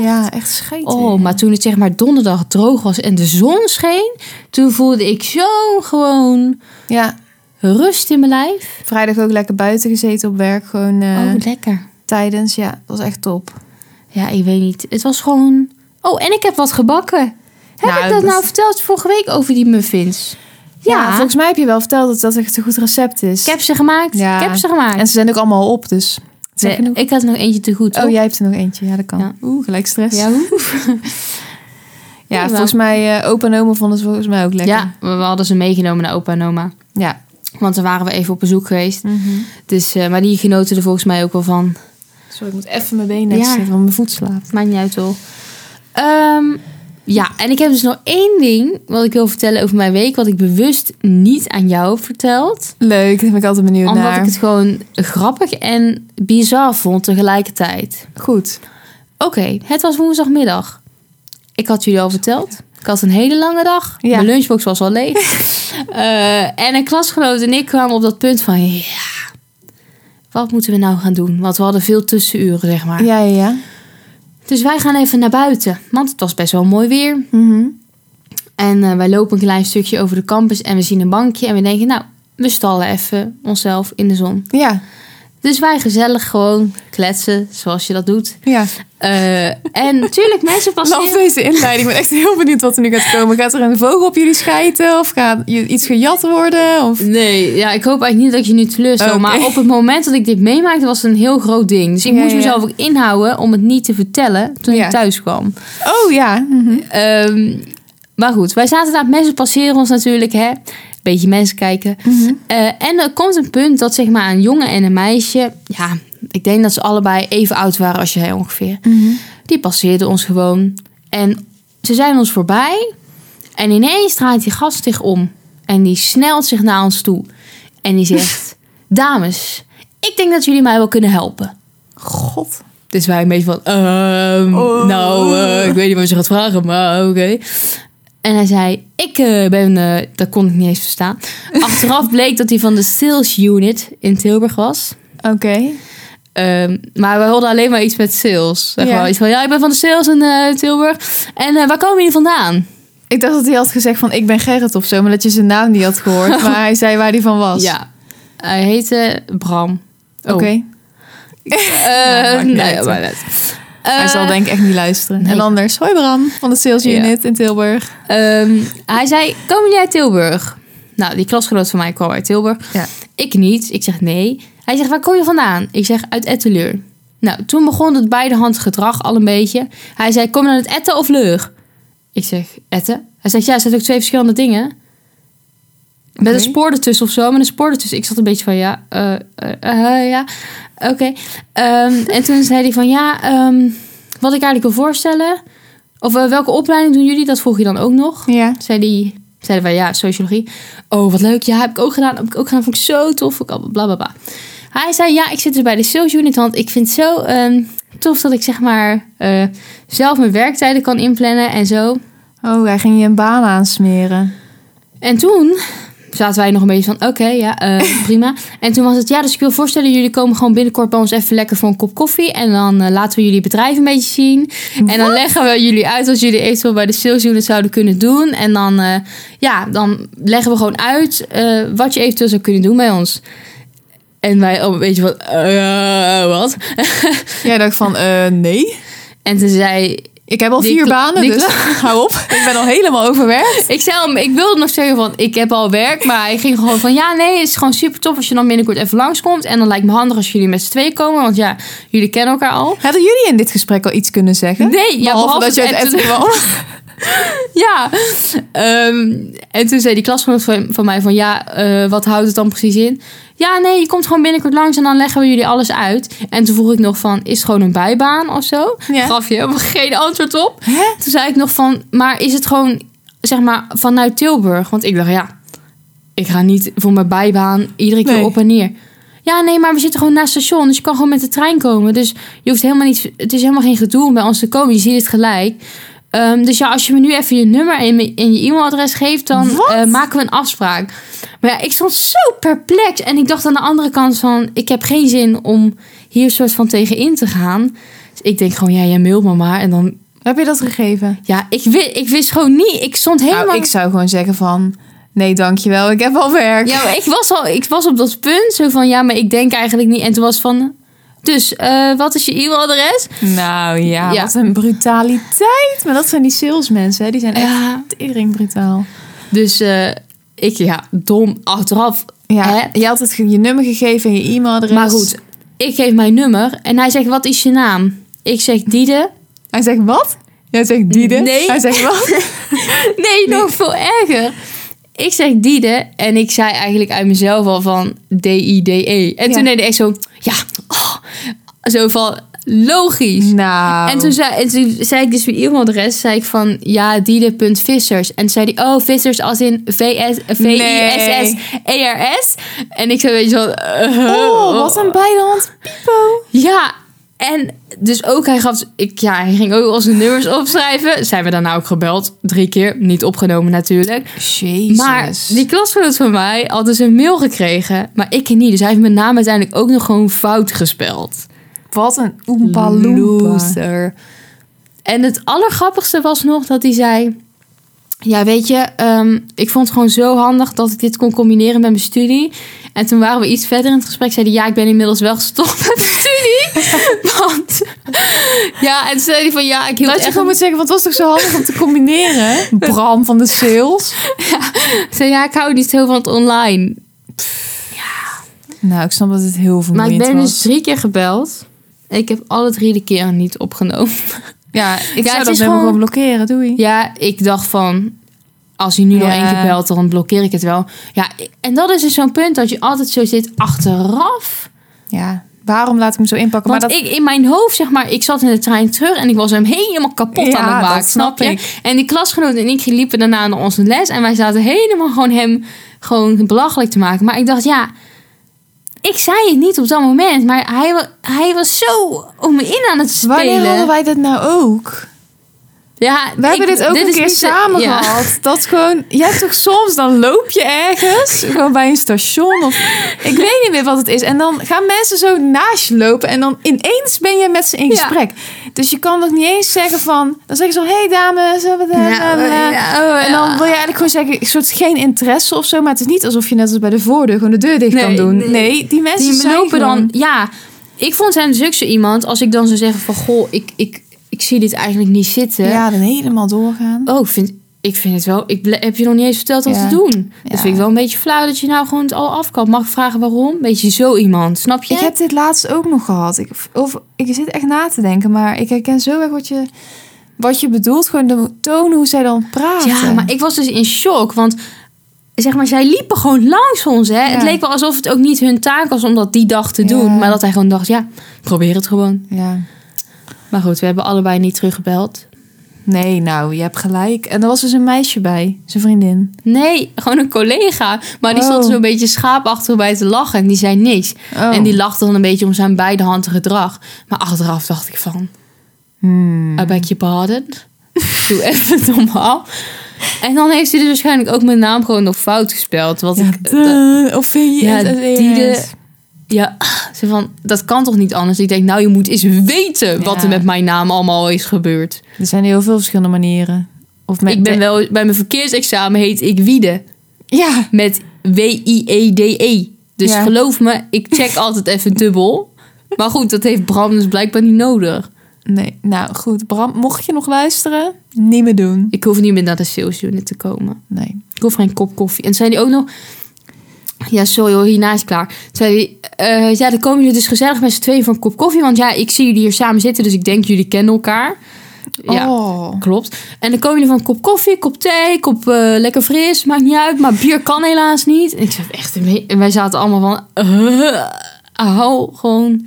[SPEAKER 1] ja echt scheet.
[SPEAKER 2] Oh,
[SPEAKER 1] weer.
[SPEAKER 2] maar toen het zeg maar donderdag droog was en de zon scheen, toen voelde ik zo gewoon
[SPEAKER 1] Ja,
[SPEAKER 2] rust in mijn lijf.
[SPEAKER 1] vrijdag ook lekker buiten gezeten op werk. Gewoon eh,
[SPEAKER 2] oh, lekker.
[SPEAKER 1] tijdens, ja, dat was echt top.
[SPEAKER 2] Ja, ik weet niet. Het was gewoon. Oh, en ik heb wat gebakken. Heb
[SPEAKER 1] Nou,
[SPEAKER 2] ik dat
[SPEAKER 1] dat-
[SPEAKER 2] nou verteld vorige week over die muffins?
[SPEAKER 1] Ja, volgens mij heb je wel verteld dat dat echt een goed recept is.
[SPEAKER 2] Ik heb ze gemaakt.
[SPEAKER 1] Ja.
[SPEAKER 2] Ik heb ze gemaakt.
[SPEAKER 1] En ze zijn ook allemaal op, dus.
[SPEAKER 2] Nee, ik had nog eentje te goed.
[SPEAKER 1] Oh,
[SPEAKER 2] hoor.
[SPEAKER 1] jij hebt er nog eentje. Ja, dat kan.
[SPEAKER 2] Ja.
[SPEAKER 1] Oeh, gelijk stress.
[SPEAKER 2] Ja,
[SPEAKER 1] Ja,
[SPEAKER 2] hoe? Prima.
[SPEAKER 1] volgens mij, eh opa en oma vonden het volgens mij ook lekker.
[SPEAKER 2] ja, we we hadden ze meegenomen naar opa en oma.
[SPEAKER 1] ja.
[SPEAKER 2] Want dan waren we even op bezoek geweest. Dus, eh, maar die genoten er volgens mij ook wel van.
[SPEAKER 1] Sorry, ik moet even mijn been netzetten,
[SPEAKER 2] Ja.
[SPEAKER 1] want mijn voet slaapt.
[SPEAKER 2] Maakt niet uit hoor. Ehm, ja, en ik heb dus nog één ding wat ik wil vertellen over mijn week. Wat ik bewust niet aan jou heb verteld.
[SPEAKER 1] Leuk, daar ben ik altijd benieuwd
[SPEAKER 2] Omdat
[SPEAKER 1] naar.
[SPEAKER 2] ik het gewoon grappig en bizar vond tegelijkertijd.
[SPEAKER 1] Goed.
[SPEAKER 2] Oké, het was woensdagmiddag. Ik had jullie al verteld. Ik had een hele lange dag.
[SPEAKER 1] Ja.
[SPEAKER 2] Mijn lunchbox was al leeg. Eh, en een klasgenoot en ik kwamen op dat punt van... Ja, wat moeten we nou gaan doen? Want we hadden veel tussenuren, zeg maar.
[SPEAKER 1] Ja, ja, ja.
[SPEAKER 2] Dus wij gaan even naar buiten. Want het was best wel mooi weer.
[SPEAKER 1] Mhm.
[SPEAKER 2] En eh, wij lopen een klein stukje over de campus. En we zien een bankje. En we denken, nou, we stallen even onszelf in de zon.
[SPEAKER 1] Ja,
[SPEAKER 2] Dus wij gezellig gewoon kletsen, zoals je dat doet.
[SPEAKER 1] ja.
[SPEAKER 2] Eh, en natuurlijk, mensen
[SPEAKER 1] Love
[SPEAKER 2] passeren...
[SPEAKER 1] deze inleiding. Ik ben echt heel benieuwd wat er nu gaat komen. Gaat er een vogel op jullie schijten? Of gaat je iets gejat worden? Of...
[SPEAKER 2] Nee, ja, ik hoop eigenlijk niet dat ik je nu teleurstel.
[SPEAKER 1] Oké.
[SPEAKER 2] Maar op het moment dat ik dit meemaakte, was het een heel groot ding. Dus ik
[SPEAKER 1] Ja,
[SPEAKER 2] moest
[SPEAKER 1] ja.
[SPEAKER 2] mezelf ook inhouden om het niet te vertellen toen
[SPEAKER 1] Ja.
[SPEAKER 2] ik thuis kwam.
[SPEAKER 1] Oh, ja. Mhm.
[SPEAKER 2] Ehm, maar goed, wij zaten daar. Mensen passeren ons natuurlijk, hè. Beetje mensen kijken.
[SPEAKER 1] Mhm.
[SPEAKER 2] Eh, en er komt een punt dat zeg maar een jongen en een meisje... Ja, ik denk dat ze allebei even oud waren als jij ongeveer. Die passeerden ons gewoon. En ze zijn ons voorbij. En ineens draait die gast zich om. En die snelt zich naar ons toe. En die zegt... Dames, ik denk dat jullie mij wel kunnen helpen.
[SPEAKER 1] God.
[SPEAKER 2] Dus wij een beetje van, ehm,
[SPEAKER 1] Oh.
[SPEAKER 2] nou, eh, ik weet niet wat je gaat vragen, maar oké. En hij zei, ik eh, ben, eh dat kon ik niet eens verstaan. Achteraf bleek dat hij van de sales unit in Tilburg was.
[SPEAKER 1] Oké.
[SPEAKER 2] Ehm, maar we hadden alleen maar iets met sales. Zeg
[SPEAKER 1] Ja.
[SPEAKER 2] maar. Iets van, ja, ik ben van de sales in eh, Tilburg. En eh, waar komen jullie vandaan?
[SPEAKER 1] Ik dacht dat hij had gezegd van ik ben Gerrit of zo, maar dat je zijn naam niet had gehoord. Maar hij zei waar hij van was.
[SPEAKER 2] Ja, hij heette Bram. Oh.
[SPEAKER 1] Oké.
[SPEAKER 2] Eh,
[SPEAKER 1] maakt niet
[SPEAKER 2] nou ja,
[SPEAKER 1] uit,
[SPEAKER 2] maar net.
[SPEAKER 1] hij zal
[SPEAKER 2] Eh,
[SPEAKER 1] denk ik echt niet luisteren.
[SPEAKER 2] nee.
[SPEAKER 1] En anders, hoi Bram van de sales
[SPEAKER 2] Ja.
[SPEAKER 1] unit in Tilburg.
[SPEAKER 2] Ehm, hij zei, komen jullie uit Tilburg? Nou, die klasgenoot van mij kwam uit Tilburg.
[SPEAKER 1] Ja.
[SPEAKER 2] Ik niet. Ik zeg nee. Hij zegt, waar kom je vandaan? Ik zeg, uit Etteleur. Nou, toen begon het beidehand gedrag al een beetje. Hij zei, kom je uit Etten of Leur? Ik zeg, Etten. Hij zegt, ja, er zijn ook twee verschillende dingen. Met
[SPEAKER 1] Oké.
[SPEAKER 2] een spoor ertussen of zo, met een spoor ertussen. Ik zat een beetje van, ja, eh, eh, eh, ja, oké. Ehm, en toen zei hij van, ja, ehm, wat ik eigenlijk wil voorstellen... Of eh, welke opleiding doen jullie? Dat vroeg je dan ook nog.
[SPEAKER 1] Ja.
[SPEAKER 2] Zei die, zeiden wij ja, sociologie. Oh, wat leuk. Ja, heb ik ook gedaan. Heb ik ook gedaan. Vond ik zo tof. Vond ik al- bla bla bla. Hij zei ja, ik zit dus bij de sales unit. Want ik vind het zo ehm, tof dat ik zeg maar eh, zelf mijn werktijden kan inplannen en zo.
[SPEAKER 1] Oh, hij ging je een baan aansmeren.
[SPEAKER 2] En toen zaten wij nog een beetje van, oké, ja, eh, prima. En toen was het, ja, dus ik wil voorstellen, jullie komen gewoon binnenkort bij ons even lekker voor een kop koffie. En dan eh, laten we jullie bedrijf een beetje zien. En dan leggen we jullie uit wat jullie eventueel bij de sales unit zouden kunnen doen. En dan, eh, ja, dan leggen we gewoon uit eh, wat je eventueel zou kunnen doen bij ons. En wij al een beetje van, eh, wat?
[SPEAKER 1] Jij dacht van, eh, nee.
[SPEAKER 2] En toen zei
[SPEAKER 1] Ik heb al
[SPEAKER 2] Die
[SPEAKER 1] vier
[SPEAKER 2] kla-
[SPEAKER 1] banen,
[SPEAKER 2] die
[SPEAKER 1] dus hou op. Ik ben al helemaal overwerkt.
[SPEAKER 2] Ik zei hem, ik wilde nog zeggen van, ik heb al werk. Maar hij ging gewoon van, ja nee, het is gewoon super tof als je dan binnenkort even langskomt. En dan lijkt me handig als jullie met z'n twee komen. Want ja, jullie kennen elkaar al.
[SPEAKER 1] Hadden jullie in dit gesprek al iets kunnen zeggen?
[SPEAKER 2] Nee, ja,
[SPEAKER 1] Behalve,
[SPEAKER 2] behalve
[SPEAKER 1] dat je
[SPEAKER 2] en
[SPEAKER 1] het
[SPEAKER 2] toen-
[SPEAKER 1] echt wel...
[SPEAKER 2] Ja. Ehm, en toen zei die klasgenoot van, van mij van, ja, eh, wat houdt het dan precies in? Ja, nee, je komt gewoon binnenkort langs en dan leggen we jullie alles uit. En toen vroeg ik nog van, is het gewoon een bijbaan of zo?
[SPEAKER 1] Ja.
[SPEAKER 2] Gaf je helemaal geen antwoord op.
[SPEAKER 1] Hè?
[SPEAKER 2] Toen zei ik nog van, maar is het gewoon, zeg maar, vanuit Tilburg? Want ik dacht, ja, ik ga niet voor mijn bijbaan iedere keer
[SPEAKER 1] Nee.
[SPEAKER 2] op en neer. Ja, nee, maar we zitten gewoon naast het station, dus je kan gewoon met de trein komen. Dus je hoeft helemaal niet, het is helemaal geen gedoe om bij ons te komen, je ziet het gelijk. Ehm, dus ja, als je me nu even je nummer en, me- en je e-mailadres geeft, dan
[SPEAKER 1] Wat?
[SPEAKER 2] eh, maken we een afspraak. Maar ja, ik stond zo perplex en ik dacht aan de andere kant van, ik heb geen zin om hier soort van tegen in te gaan. Dus ik denk gewoon, ja, jij mailt me maar en dan
[SPEAKER 1] Heb je dat gegeven?
[SPEAKER 2] ja, ik wist, ik wist gewoon niet. Ik stond helemaal.
[SPEAKER 1] Nou, ik zou gewoon zeggen van... Nee, dankjewel, ik heb al werk.
[SPEAKER 2] ja, maar ik, was al, ik was op dat punt zo van ja, maar ik denk eigenlijk niet. En toen was van. Dus eh, wat is je e-mailadres?
[SPEAKER 1] Nou ja,
[SPEAKER 2] Ja.
[SPEAKER 1] wat een brutaliteit. Maar dat zijn die salesmensen, hè? die zijn echt
[SPEAKER 2] Ja.
[SPEAKER 1] tering brutaal.
[SPEAKER 2] Dus eh, ik, ja, dom achteraf.
[SPEAKER 1] Ja,
[SPEAKER 2] Hè?
[SPEAKER 1] je had het ge- je nummer gegeven en je e-mailadres.
[SPEAKER 2] Maar goed, ik geef mijn nummer en hij zegt: Wat is je naam? Ik zeg Diede.
[SPEAKER 1] Hij zegt wat? Jij zegt Diede?
[SPEAKER 2] Nee.
[SPEAKER 1] Hij zegt wat?
[SPEAKER 2] Nee, nog veel erger. Ik zeg Diede en ik zei eigenlijk uit mezelf al van D-I-D-E. E. En
[SPEAKER 1] Ja.
[SPEAKER 2] toen deed hij echt zo, ja, oh, zo van logisch.
[SPEAKER 1] nou.
[SPEAKER 2] En toen, zei, en toen zei ik dus mijn e-mailadres, zei ik van ja, diede.vissers. En toen zei hij, oh, vissers als in V-S- V-I-S-S-E-R-S. E En ik zei, weet je wel, eh,
[SPEAKER 1] Oh, wat een bij de hand piepo.
[SPEAKER 2] Ja, en dus ook hij gaf, ik, ja, hij ging ook al zijn nummers opschrijven. Zijn we daarna ook gebeld, drie keer, niet opgenomen natuurlijk.
[SPEAKER 1] Jezus.
[SPEAKER 2] Maar die klasgenoot van mij had dus een mail gekregen, maar ik niet. Dus hij heeft mijn naam uiteindelijk ook nog gewoon fout gespeld.
[SPEAKER 1] Wat een oompa loompa.
[SPEAKER 2] En het allergrappigste was nog dat hij zei... Ja, weet je, ehm, ik vond het gewoon zo handig dat ik dit kon combineren met mijn studie. En toen waren we iets verder in het gesprek. Zei hij, ja, ik ben inmiddels wel gestopt met mijn studie. Want... Ja, en toen zei hij van, ja, ik hield
[SPEAKER 1] Dat je
[SPEAKER 2] echt...
[SPEAKER 1] gewoon moet zeggen, want het was toch zo handig om te combineren? Bram van de sales.
[SPEAKER 2] Zei, ja, ik hou niet zo van het online.
[SPEAKER 1] Nou, ik snap dat het heel
[SPEAKER 2] Maar ik
[SPEAKER 1] vermoeiend
[SPEAKER 2] ben dus
[SPEAKER 1] was.
[SPEAKER 2] drie keer gebeld. Ik heb alle drie de keer niet opgenomen.
[SPEAKER 1] Ja, ik
[SPEAKER 2] Ja,
[SPEAKER 1] zou dat
[SPEAKER 2] het is
[SPEAKER 1] nummer
[SPEAKER 2] gewoon-
[SPEAKER 1] gewoon blokkeren, doei.
[SPEAKER 2] Ja, ik dacht van. Als hij nu nog
[SPEAKER 1] Ja.
[SPEAKER 2] één keer belt, dan blokkeer ik het wel. Ja, en dat is dus zo'n punt dat je altijd zo zit achteraf.
[SPEAKER 1] Ja, waarom laat ik hem zo inpakken?
[SPEAKER 2] Want
[SPEAKER 1] maar dat,
[SPEAKER 2] ik, in mijn hoofd, zeg maar, ik zat in de trein terug en ik was hem helemaal kapot
[SPEAKER 1] Ja,
[SPEAKER 2] aan het maken.
[SPEAKER 1] dat snap
[SPEAKER 2] je?
[SPEAKER 1] ik.
[SPEAKER 2] En die klasgenoot en ik liepen daarna naar onze les en wij zaten helemaal gewoon hem gewoon belachelijk te maken. Maar ik dacht, ja, ik zei het niet op dat moment, maar hij, wa- hij was zo om me in aan het
[SPEAKER 1] wanneer hadden
[SPEAKER 2] spelen.
[SPEAKER 1] wij dat nou ook?
[SPEAKER 2] Ja,
[SPEAKER 1] We hebben
[SPEAKER 2] ik-
[SPEAKER 1] dit ook een
[SPEAKER 2] is
[SPEAKER 1] keer
[SPEAKER 2] niet de-
[SPEAKER 1] samen
[SPEAKER 2] ja.
[SPEAKER 1] gehad. Dat gewoon, je hebt toch soms, dan loop je ergens, gewoon bij een station of ik weet niet meer wat het is. En dan gaan mensen zo naast je lopen en dan ineens ben je met ze in
[SPEAKER 2] Ja.
[SPEAKER 1] gesprek. Dus je kan nog niet eens zeggen van, dan zeggen ze al, hey dames, eh, wat, eh, bla, bla, bla."
[SPEAKER 2] oh,
[SPEAKER 1] En dan wil je eigenlijk gewoon zeggen, een soort geen interesse of zo. Maar het is niet alsof je net als bij de voordeur gewoon de deur dicht kan
[SPEAKER 2] Nee,
[SPEAKER 1] doen.
[SPEAKER 2] nee.
[SPEAKER 1] Nee, die mensen
[SPEAKER 2] die
[SPEAKER 1] zijn
[SPEAKER 2] lopen dan.
[SPEAKER 1] gewoon-
[SPEAKER 2] Ja, ik vond hem dus ook zo iemand. Als ik dan zou zeggen van goh, ik, ik, ik zie dit eigenlijk niet zitten.
[SPEAKER 1] Ja, dan helemaal doorgaan.
[SPEAKER 2] Oh, ik vind, ik vind het wel. Ik ble- heb je nog niet eens verteld wat
[SPEAKER 1] Ja.
[SPEAKER 2] te doen.
[SPEAKER 1] Ja.
[SPEAKER 2] Dat vind ik wel een beetje flauw dat je nou gewoon het al af kan. Mag ik vragen waarom? Beetje zo iemand, snap je?
[SPEAKER 1] Ik heb dit laatst ook nog gehad. Ik, of, ik zit echt na te denken, maar ik herken zo erg wat je, wat je bedoelt. Gewoon de toon hoe zij dan praten.
[SPEAKER 2] ja, maar ik was dus in shock, want zeg maar, zij liepen gewoon langs ons. Hè? Het leek wel alsof het ook niet hun taak was om dat die dag te
[SPEAKER 1] Ja.
[SPEAKER 2] doen, maar dat hij gewoon dacht, ja, probeer het gewoon.
[SPEAKER 1] Ja.
[SPEAKER 2] Maar goed, we hebben allebei niet teruggebeld.
[SPEAKER 1] Nee, nou, je hebt gelijk. En er was dus een meisje bij, zijn vriendin.
[SPEAKER 2] Nee, gewoon een collega. Maar die
[SPEAKER 1] Oh. Oh.
[SPEAKER 2] stond zo'n beetje schaapachtig bij te lachen. En die zei niks. En die lachte dan een beetje om zijn beide handen gedrag. Maar achteraf dacht Hmm.
[SPEAKER 1] Mhm.
[SPEAKER 2] ik van... I beg your pardon. Doe even normaal. En dan heeft hij dus waarschijnlijk ook mijn naam gewoon nog fout gespeld. Wat
[SPEAKER 1] Ja,
[SPEAKER 2] ik,
[SPEAKER 1] duh, of vind je
[SPEAKER 2] Ja,
[SPEAKER 1] het- het
[SPEAKER 2] die de-
[SPEAKER 1] eens?
[SPEAKER 2] ja, zo van, dat kan toch niet anders? Ik denk, nou, je moet eens weten wat
[SPEAKER 1] Ja.
[SPEAKER 2] er met mijn naam allemaal is gebeurd.
[SPEAKER 1] Er zijn heel veel verschillende manieren. Of met,
[SPEAKER 2] ik ben wel, bij mijn verkeersexamen heet ik Wiede.
[SPEAKER 1] Ja,
[SPEAKER 2] Met W-I-E-D-E. Dus
[SPEAKER 1] Ja.
[SPEAKER 2] geloof me, ik check altijd even dubbel. Maar goed, dat heeft Bram dus blijkbaar niet nodig.
[SPEAKER 1] nee. Nou goed, Bram, mocht je nog luisteren, niet meer doen.
[SPEAKER 2] Ik hoef niet meer naar de sales unit te komen.
[SPEAKER 1] Nee.
[SPEAKER 2] Ik hoef geen kop koffie. En toen zei die ook nog... Ja, sorry hoor, hierna is klaar. Toen zei die, eh, ja, dan komen jullie dus gezellig met z'n tweeën voor een kop koffie. Want ja, ik zie jullie hier samen zitten, dus ik denk jullie kennen elkaar. Ja,
[SPEAKER 1] Oh.
[SPEAKER 2] klopt. En dan komen jullie van een kop koffie, kop thee, kop eh, lekker fris. Maakt niet uit, maar bier kan helaas niet. En ik zei echt, nee. en wij zaten allemaal van... eh, hou gewoon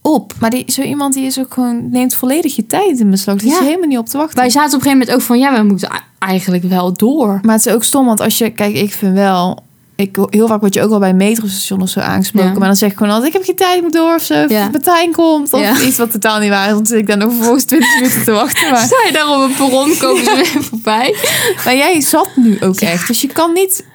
[SPEAKER 2] op.
[SPEAKER 1] Maar die, zo iemand die is ook gewoon, neemt volledig je tijd in beslag. Die
[SPEAKER 2] Ja.
[SPEAKER 1] is helemaal niet op te wachten.
[SPEAKER 2] Wij zaten op een gegeven moment ook van... Ja, we moeten a- eigenlijk wel door.
[SPEAKER 1] Maar het is ook stom, want als je, kijk, ik vind wel, ik, heel vaak word je ook wel bij een metrostation of zo aangesproken.
[SPEAKER 2] Ja.
[SPEAKER 1] Maar dan zeg ik gewoon altijd, ik heb geen tijd, ik moet door of zo.
[SPEAKER 2] Ja.
[SPEAKER 1] Of Martijn komt of
[SPEAKER 2] Ja.
[SPEAKER 1] iets wat totaal niet waar is. Want dan zit ik dan nog vervolgens 20 minuten te wachten. Maar,
[SPEAKER 2] Sta je daar op een perron, komen ze weer voorbij.
[SPEAKER 1] maar jij zat nu ook echt, dus je kan niet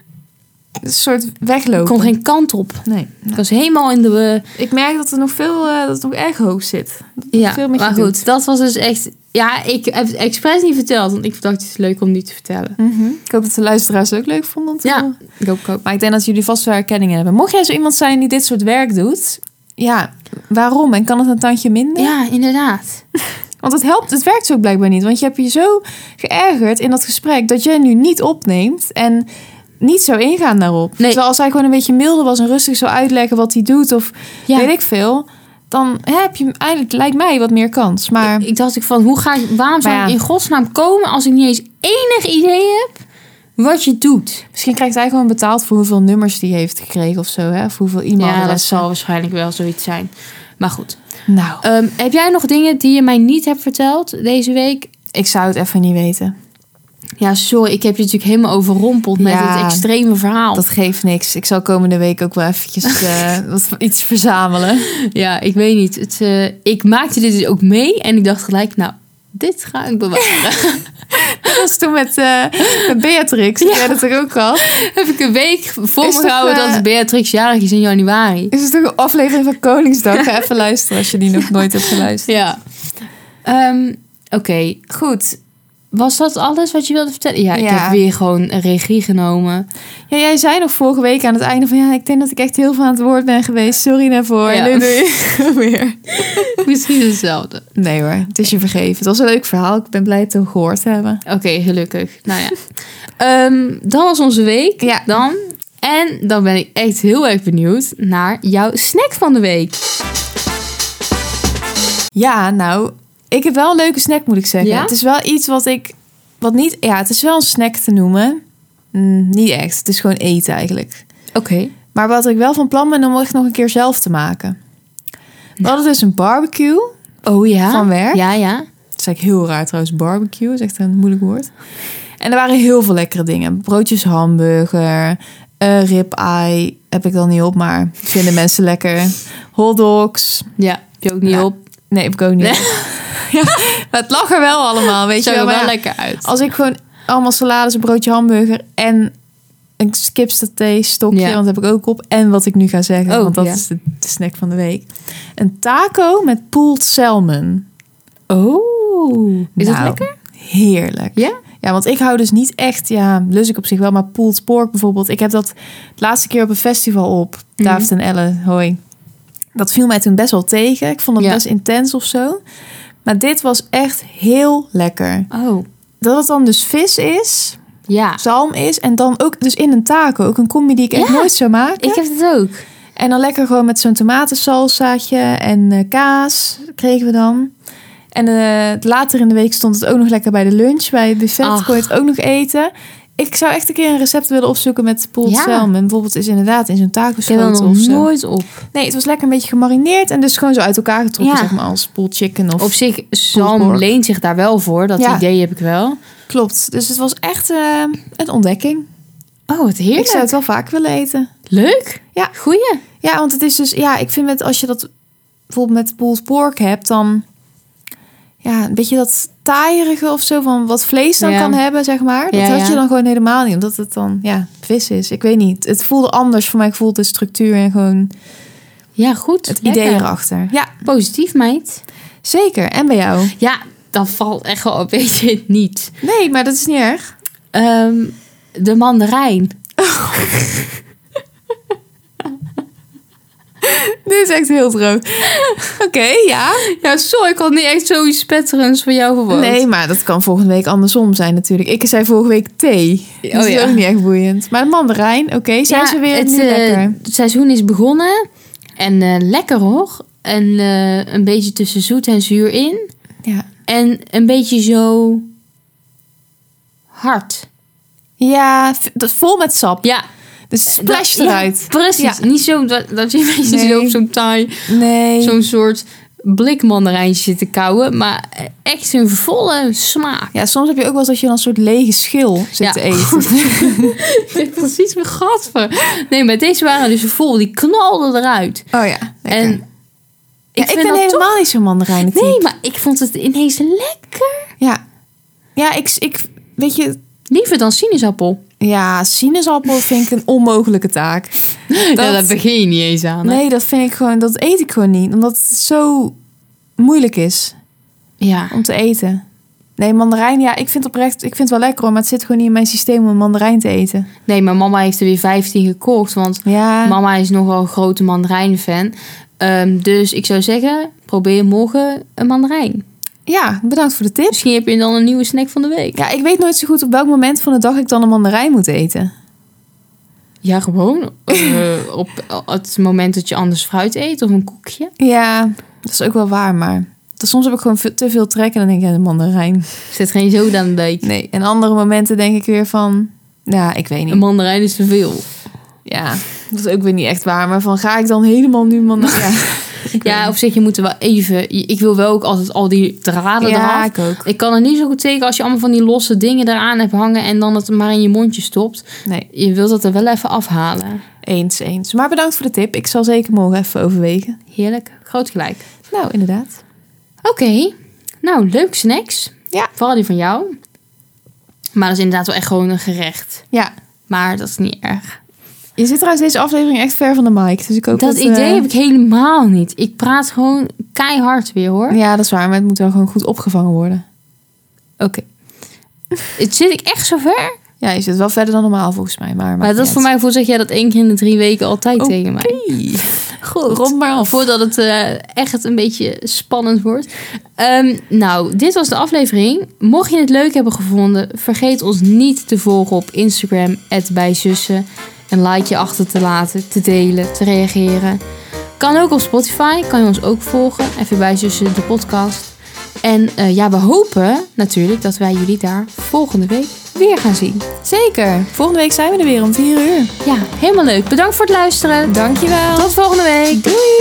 [SPEAKER 1] een soort weglopen.
[SPEAKER 2] Ik kon geen kant op.
[SPEAKER 1] Nee.
[SPEAKER 2] Ik was helemaal in de... eh,
[SPEAKER 1] Ik merk dat er nog veel, eh, dat het nog erg hoog zit.
[SPEAKER 2] ja,
[SPEAKER 1] veel met je
[SPEAKER 2] maar goed,
[SPEAKER 1] doet.
[SPEAKER 2] dat was dus echt... Ja, ik heb het expres niet verteld. Want ik dacht, het is leuk om niet te vertellen.
[SPEAKER 1] Mhm. Ik hoop dat de luisteraars het ook leuk vonden om te
[SPEAKER 2] Ja.
[SPEAKER 1] horen.
[SPEAKER 2] Ik hoop ik ook.
[SPEAKER 1] Maar ik denk dat jullie vast wel herkenningen hebben. Mocht jij zo iemand zijn die dit soort werk doet, ja, waarom? En kan het een tandje minder?
[SPEAKER 2] Ja, inderdaad.
[SPEAKER 1] Want het helpt, het werkt ook blijkbaar niet. Want je hebt je zo geërgerd in dat gesprek dat jij nu niet opneemt en niet zou ingaan daarop.
[SPEAKER 2] Nee.
[SPEAKER 1] Terwijl als hij gewoon een beetje milder was en rustig zou uitleggen wat hij doet of
[SPEAKER 2] Ja.
[SPEAKER 1] weet ik veel, dan heb je eigenlijk, lijkt mij, wat meer kans. Maar
[SPEAKER 2] Ik dacht ik van, hoe ga ik, waarom zou
[SPEAKER 1] Maar ja.
[SPEAKER 2] ik in godsnaam komen als ik niet eens enig idee heb wat je doet?
[SPEAKER 1] misschien krijgt hij gewoon betaald voor hoeveel nummers die heeft gekregen of zo, hè? Of hoeveel e-mail.
[SPEAKER 2] waarschijnlijk wel zoiets zijn. Maar goed.
[SPEAKER 1] Nou,
[SPEAKER 2] Ehm, heb jij nog dingen die je mij niet hebt verteld deze week?
[SPEAKER 1] ik zou het even niet weten.
[SPEAKER 2] Ja, sorry, ik heb je natuurlijk helemaal overrompeld met
[SPEAKER 1] Ja.
[SPEAKER 2] het extreme verhaal.
[SPEAKER 1] Dat geeft niks. Ik zal komende week ook wel eventjes eh, wat, iets verzamelen.
[SPEAKER 2] Ja, ik weet niet. Het, eh, ik maakte dit dus ook mee en ik dacht gelijk, nou, dit ga ik bewaren.
[SPEAKER 1] Dat was toen met, eh, met Beatrix, die
[SPEAKER 2] Ja.
[SPEAKER 1] jij dat toch ook had.
[SPEAKER 2] heb ik een week voor
[SPEAKER 1] Is
[SPEAKER 2] me gehouden
[SPEAKER 1] toch, eh,
[SPEAKER 2] dat Beatrix jarig is in januari.
[SPEAKER 1] Is het ook een aflevering van Koningsdag? Ga even luisteren als je die nog nooit hebt geluisterd.
[SPEAKER 2] Ja. Ehm, Oké, goed. Was dat alles wat je wilde vertellen? Ja, ik
[SPEAKER 1] Ja.
[SPEAKER 2] heb weer gewoon regie genomen.
[SPEAKER 1] Ja, jij zei nog vorige week aan het einde van... ja, ik denk dat ik echt heel veel aan het woord ben geweest. Sorry daarvoor.
[SPEAKER 2] Ja.
[SPEAKER 1] Doei, doei. Weer.
[SPEAKER 2] Misschien hetzelfde.
[SPEAKER 1] Nee hoor, het is je vergeven. Het was een leuk verhaal. Ik ben blij dat we het gehoord hebben.
[SPEAKER 2] Oké, gelukkig. Nou ja. Ehm, dat was onze week.
[SPEAKER 1] Ja.
[SPEAKER 2] Dan. En dan ben ik echt heel erg benieuwd naar jouw snack van de week.
[SPEAKER 1] Ja, nou, ik heb wel een leuke snack, moet ik zeggen.
[SPEAKER 2] Ja?
[SPEAKER 1] Het is wel iets wat ik... Wat niet, ja, het is wel een snack te noemen. Mm, niet echt. Het is gewoon eten eigenlijk.
[SPEAKER 2] Oké.
[SPEAKER 1] Maar wat ik wel van plan ben om echt nog een keer zelf te maken. We hadden dus een barbecue
[SPEAKER 2] Oh ja.
[SPEAKER 1] van werk.
[SPEAKER 2] Ja, ja.
[SPEAKER 1] Dat is eigenlijk heel raar trouwens. Barbecue is echt een moeilijk woord. En er waren heel veel lekkere dingen. Broodjes hamburger, eh ribeye heb ik dan niet op, maar vinden mensen lekker. Hotdogs.
[SPEAKER 2] Ja. Heb je ook niet
[SPEAKER 1] Nou,
[SPEAKER 2] op.
[SPEAKER 1] Nee, heb ik ook niet.
[SPEAKER 2] Nee.
[SPEAKER 1] op. ja, maar het lag er wel allemaal, weet
[SPEAKER 2] Zag
[SPEAKER 1] je
[SPEAKER 2] er
[SPEAKER 1] wel. Maar
[SPEAKER 2] wel
[SPEAKER 1] ja,
[SPEAKER 2] lekker uit.
[SPEAKER 1] als ik gewoon allemaal salades, een broodje hamburger en een kipsaté stokje,
[SPEAKER 2] Ja.
[SPEAKER 1] want dat heb ik ook op. En wat ik nu ga zeggen,
[SPEAKER 2] Oh,
[SPEAKER 1] want dat
[SPEAKER 2] ja.
[SPEAKER 1] is de, de snack van de week. Een taco met pulled salmon.
[SPEAKER 2] Oh. Is dat
[SPEAKER 1] Nou,
[SPEAKER 2] lekker?
[SPEAKER 1] Heerlijk.
[SPEAKER 2] Ja?
[SPEAKER 1] Ja, want ik hou dus niet echt, ja, lus ik op zich wel, maar pulled pork bijvoorbeeld. Ik heb dat de laatste keer op een festival op,
[SPEAKER 2] Mhm.
[SPEAKER 1] David en Ellen, hoi. Dat viel mij toen best wel tegen. Ik vond het
[SPEAKER 2] Ja.
[SPEAKER 1] best intens of zo. Maar dit was echt heel lekker.
[SPEAKER 2] Oh.
[SPEAKER 1] Dat het dan dus vis is,
[SPEAKER 2] Ja.
[SPEAKER 1] zalm is en dan ook dus in een taco. Ook een combi die ik echt
[SPEAKER 2] Ah. Ja.
[SPEAKER 1] nooit zou maken.
[SPEAKER 2] Ik heb het ook.
[SPEAKER 1] En dan lekker gewoon met zo'n tomatensalsaatje en eh, kaas kregen we dan. En eh, later in de week stond het ook nog lekker bij de lunch. Bij het buffet
[SPEAKER 2] Ach.
[SPEAKER 1] kon je het ook nog eten. Ik zou echt een keer een recept willen opzoeken met pulled
[SPEAKER 2] Ja.
[SPEAKER 1] salmon. Bijvoorbeeld is inderdaad in zo'n taco
[SPEAKER 2] Ik heb er
[SPEAKER 1] of
[SPEAKER 2] nog
[SPEAKER 1] zo.
[SPEAKER 2] nooit op.
[SPEAKER 1] Nee, het was lekker een beetje gemarineerd. En dus gewoon zo uit elkaar getrokken,
[SPEAKER 2] Ja.
[SPEAKER 1] zeg maar, als pulled chicken. Of...
[SPEAKER 2] Op zich, zalm
[SPEAKER 1] pork.
[SPEAKER 2] leent zich daar wel voor. Dat
[SPEAKER 1] Ja.
[SPEAKER 2] idee heb ik wel.
[SPEAKER 1] Klopt. Dus het was echt eh, een ontdekking.
[SPEAKER 2] Oh, wat heerlijk.
[SPEAKER 1] Ik zou het wel vaak willen eten.
[SPEAKER 2] Leuk.
[SPEAKER 1] Ja.
[SPEAKER 2] Goeie.
[SPEAKER 1] Ja, want het is dus, ja, ik vind met als je dat bijvoorbeeld met pulled pork hebt, dan. ja, een beetje dat taaierige of zo van wat vlees dan
[SPEAKER 2] Ja.
[SPEAKER 1] kan hebben, zeg maar. Dat
[SPEAKER 2] Ja,
[SPEAKER 1] had
[SPEAKER 2] ja.
[SPEAKER 1] je dan gewoon helemaal niet, omdat het dan ja, vis is. Ik weet niet. Het voelde anders voor mij gevoel de structuur en gewoon
[SPEAKER 2] Ja, goed.
[SPEAKER 1] het
[SPEAKER 2] Lekker.
[SPEAKER 1] idee erachter. Ja,
[SPEAKER 2] Positief, meid.
[SPEAKER 1] zeker. En bij jou?
[SPEAKER 2] Ja, dan valt echt wel een beetje het niet.
[SPEAKER 1] Nee, maar dat is niet erg.
[SPEAKER 2] Ehm, de mandarijn.
[SPEAKER 1] Dit is echt heel droog. Oké, ja.
[SPEAKER 2] Ja, sorry, ik had niet echt zoiets spetterends voor jou verwacht.
[SPEAKER 1] Nee, maar dat kan volgende week andersom zijn natuurlijk. Ik zei vorige week thee.
[SPEAKER 2] Oh
[SPEAKER 1] dat is
[SPEAKER 2] ja.
[SPEAKER 1] ook niet echt boeiend. Maar de mandarijn, oké, zijn
[SPEAKER 2] Ja,
[SPEAKER 1] ze weer
[SPEAKER 2] het,
[SPEAKER 1] nu
[SPEAKER 2] eh,
[SPEAKER 1] lekker.
[SPEAKER 2] Het seizoen is begonnen. En eh, lekker hoor. En eh, een beetje tussen zoet en zuur in.
[SPEAKER 1] Ja.
[SPEAKER 2] En een beetje zo hard.
[SPEAKER 1] ja, v- dat- vol met sap.
[SPEAKER 2] Ja,
[SPEAKER 1] Dus splash
[SPEAKER 2] dat- ja,
[SPEAKER 1] eruit.
[SPEAKER 2] precies.
[SPEAKER 1] Ja.
[SPEAKER 2] Niet zo dat, dat je een beetje
[SPEAKER 1] Nee.
[SPEAKER 2] zo op zo'n taai,
[SPEAKER 1] Nee.
[SPEAKER 2] zo'n soort blikmandarijntje zit te kauwen. Maar echt een volle smaak.
[SPEAKER 1] Ja, soms heb je ook wel eens dat je dan een soort lege schil zit
[SPEAKER 2] Ja.
[SPEAKER 1] te eten.
[SPEAKER 2] precies mijn gatver. Nee, maar deze waren dus vol. Die knalden eruit.
[SPEAKER 1] Oh ja.
[SPEAKER 2] En
[SPEAKER 1] En ik,
[SPEAKER 2] vind
[SPEAKER 1] ben
[SPEAKER 2] dat
[SPEAKER 1] helemaal niet zo'n mandarijnen
[SPEAKER 2] toch- Nee, maar ik vond het ineens lekker.
[SPEAKER 1] Ja. Ja, ik, ik weet je,
[SPEAKER 2] Liever dan sinaasappel.
[SPEAKER 1] ja, sinaasappel vind ik een onmogelijke taak.
[SPEAKER 2] Dat... Ja, daar begin je niet eens aan. hè?
[SPEAKER 1] Nee, dat vind ik gewoon, dat eet ik gewoon niet. Omdat het zo moeilijk is
[SPEAKER 2] Ja.
[SPEAKER 1] om te eten. Nee, mandarijn, ja, ik vind het oprecht, ik vind het wel lekker hoor, maar het zit gewoon niet in mijn systeem om een mandarijn te eten.
[SPEAKER 2] Nee, maar mama heeft er weer 15 gekocht. Want
[SPEAKER 1] Ja.
[SPEAKER 2] mama is nogal een grote mandarijnfan. Ehm, dus ik zou zeggen, probeer morgen een mandarijn.
[SPEAKER 1] ja, bedankt voor de tip.
[SPEAKER 2] Misschien heb je dan een nieuwe snack van de week.
[SPEAKER 1] Ja, ik weet nooit zo goed op welk moment van de dag ik dan een mandarijn moet eten.
[SPEAKER 2] Ja, gewoon. eh, op het moment dat je anders fruit eet of een koekje.
[SPEAKER 1] Ja, dat is ook wel waar, maar dat- soms heb ik gewoon veel- te veel trek en dan denk ik, ja, de mandarijn.
[SPEAKER 2] Zet geen zoden aan de dijk.
[SPEAKER 1] Nee, en andere momenten denk ik weer van, ja, ik weet
[SPEAKER 2] Een
[SPEAKER 1] niet.
[SPEAKER 2] mandarijn is te veel.
[SPEAKER 1] Ja, dat is ook weer niet echt waar, maar van ga ik dan helemaal nu mandarijn? Ik weet
[SPEAKER 2] Ja, op zich, je moet er wel even... Ik wil wel ook altijd al die draden
[SPEAKER 1] niet. ja,
[SPEAKER 2] eraf.
[SPEAKER 1] ik ook.
[SPEAKER 2] Ik kan er niet zo goed tegen als je allemaal van die losse dingen eraan hebt hangen... en dan het maar in je mondje stopt.
[SPEAKER 1] Nee,
[SPEAKER 2] Je wilt dat er wel even afhalen.
[SPEAKER 1] eens, eens. Maar bedankt voor de tip. Ik zal zeker morgen even overwegen.
[SPEAKER 2] Heerlijk. Groot gelijk.
[SPEAKER 1] Nou, inderdaad.
[SPEAKER 2] Oké. Nou, leuk snacks.
[SPEAKER 1] Ja.
[SPEAKER 2] Vooral die van jou. Maar dat is inderdaad wel echt gewoon een gerecht.
[SPEAKER 1] Ja,
[SPEAKER 2] Maar dat is niet erg.
[SPEAKER 1] je zit trouwens deze aflevering echt ver van de mic, dus ik hoop
[SPEAKER 2] dat
[SPEAKER 1] dat...
[SPEAKER 2] idee
[SPEAKER 1] eh,
[SPEAKER 2] heb ik helemaal niet. Ik praat gewoon keihard weer hoor.
[SPEAKER 1] Ja, dat is waar, maar het moet wel gewoon goed opgevangen worden.
[SPEAKER 2] Oké. Het Zit ik echt zo ver?
[SPEAKER 1] Ja, je zit wel verder dan normaal volgens mij, maar...
[SPEAKER 2] Maar dat is voor mij voor zeg jij dat één keer in de drie weken altijd
[SPEAKER 1] Oké.
[SPEAKER 2] tegen mij.
[SPEAKER 1] Goed, rond maar af.
[SPEAKER 2] Voordat het eh, echt een beetje spannend wordt. Ehm, nou, dit was de aflevering. Mocht je het leuk hebben gevonden, vergeet ons niet te volgen op Instagram, bijzussen. Een likeje achter te laten, te delen, te reageren. Kan ook op Spotify, kan je ons ook volgen. Even bijzussen, de podcast. En eh, ja, we hopen natuurlijk dat wij jullie daar volgende week weer gaan zien.
[SPEAKER 1] Zeker. Volgende week zijn we er weer om 4 uur.
[SPEAKER 2] Ja, helemaal leuk. Bedankt voor het luisteren.
[SPEAKER 1] Dankjewel.
[SPEAKER 2] Tot volgende week.
[SPEAKER 1] Doei.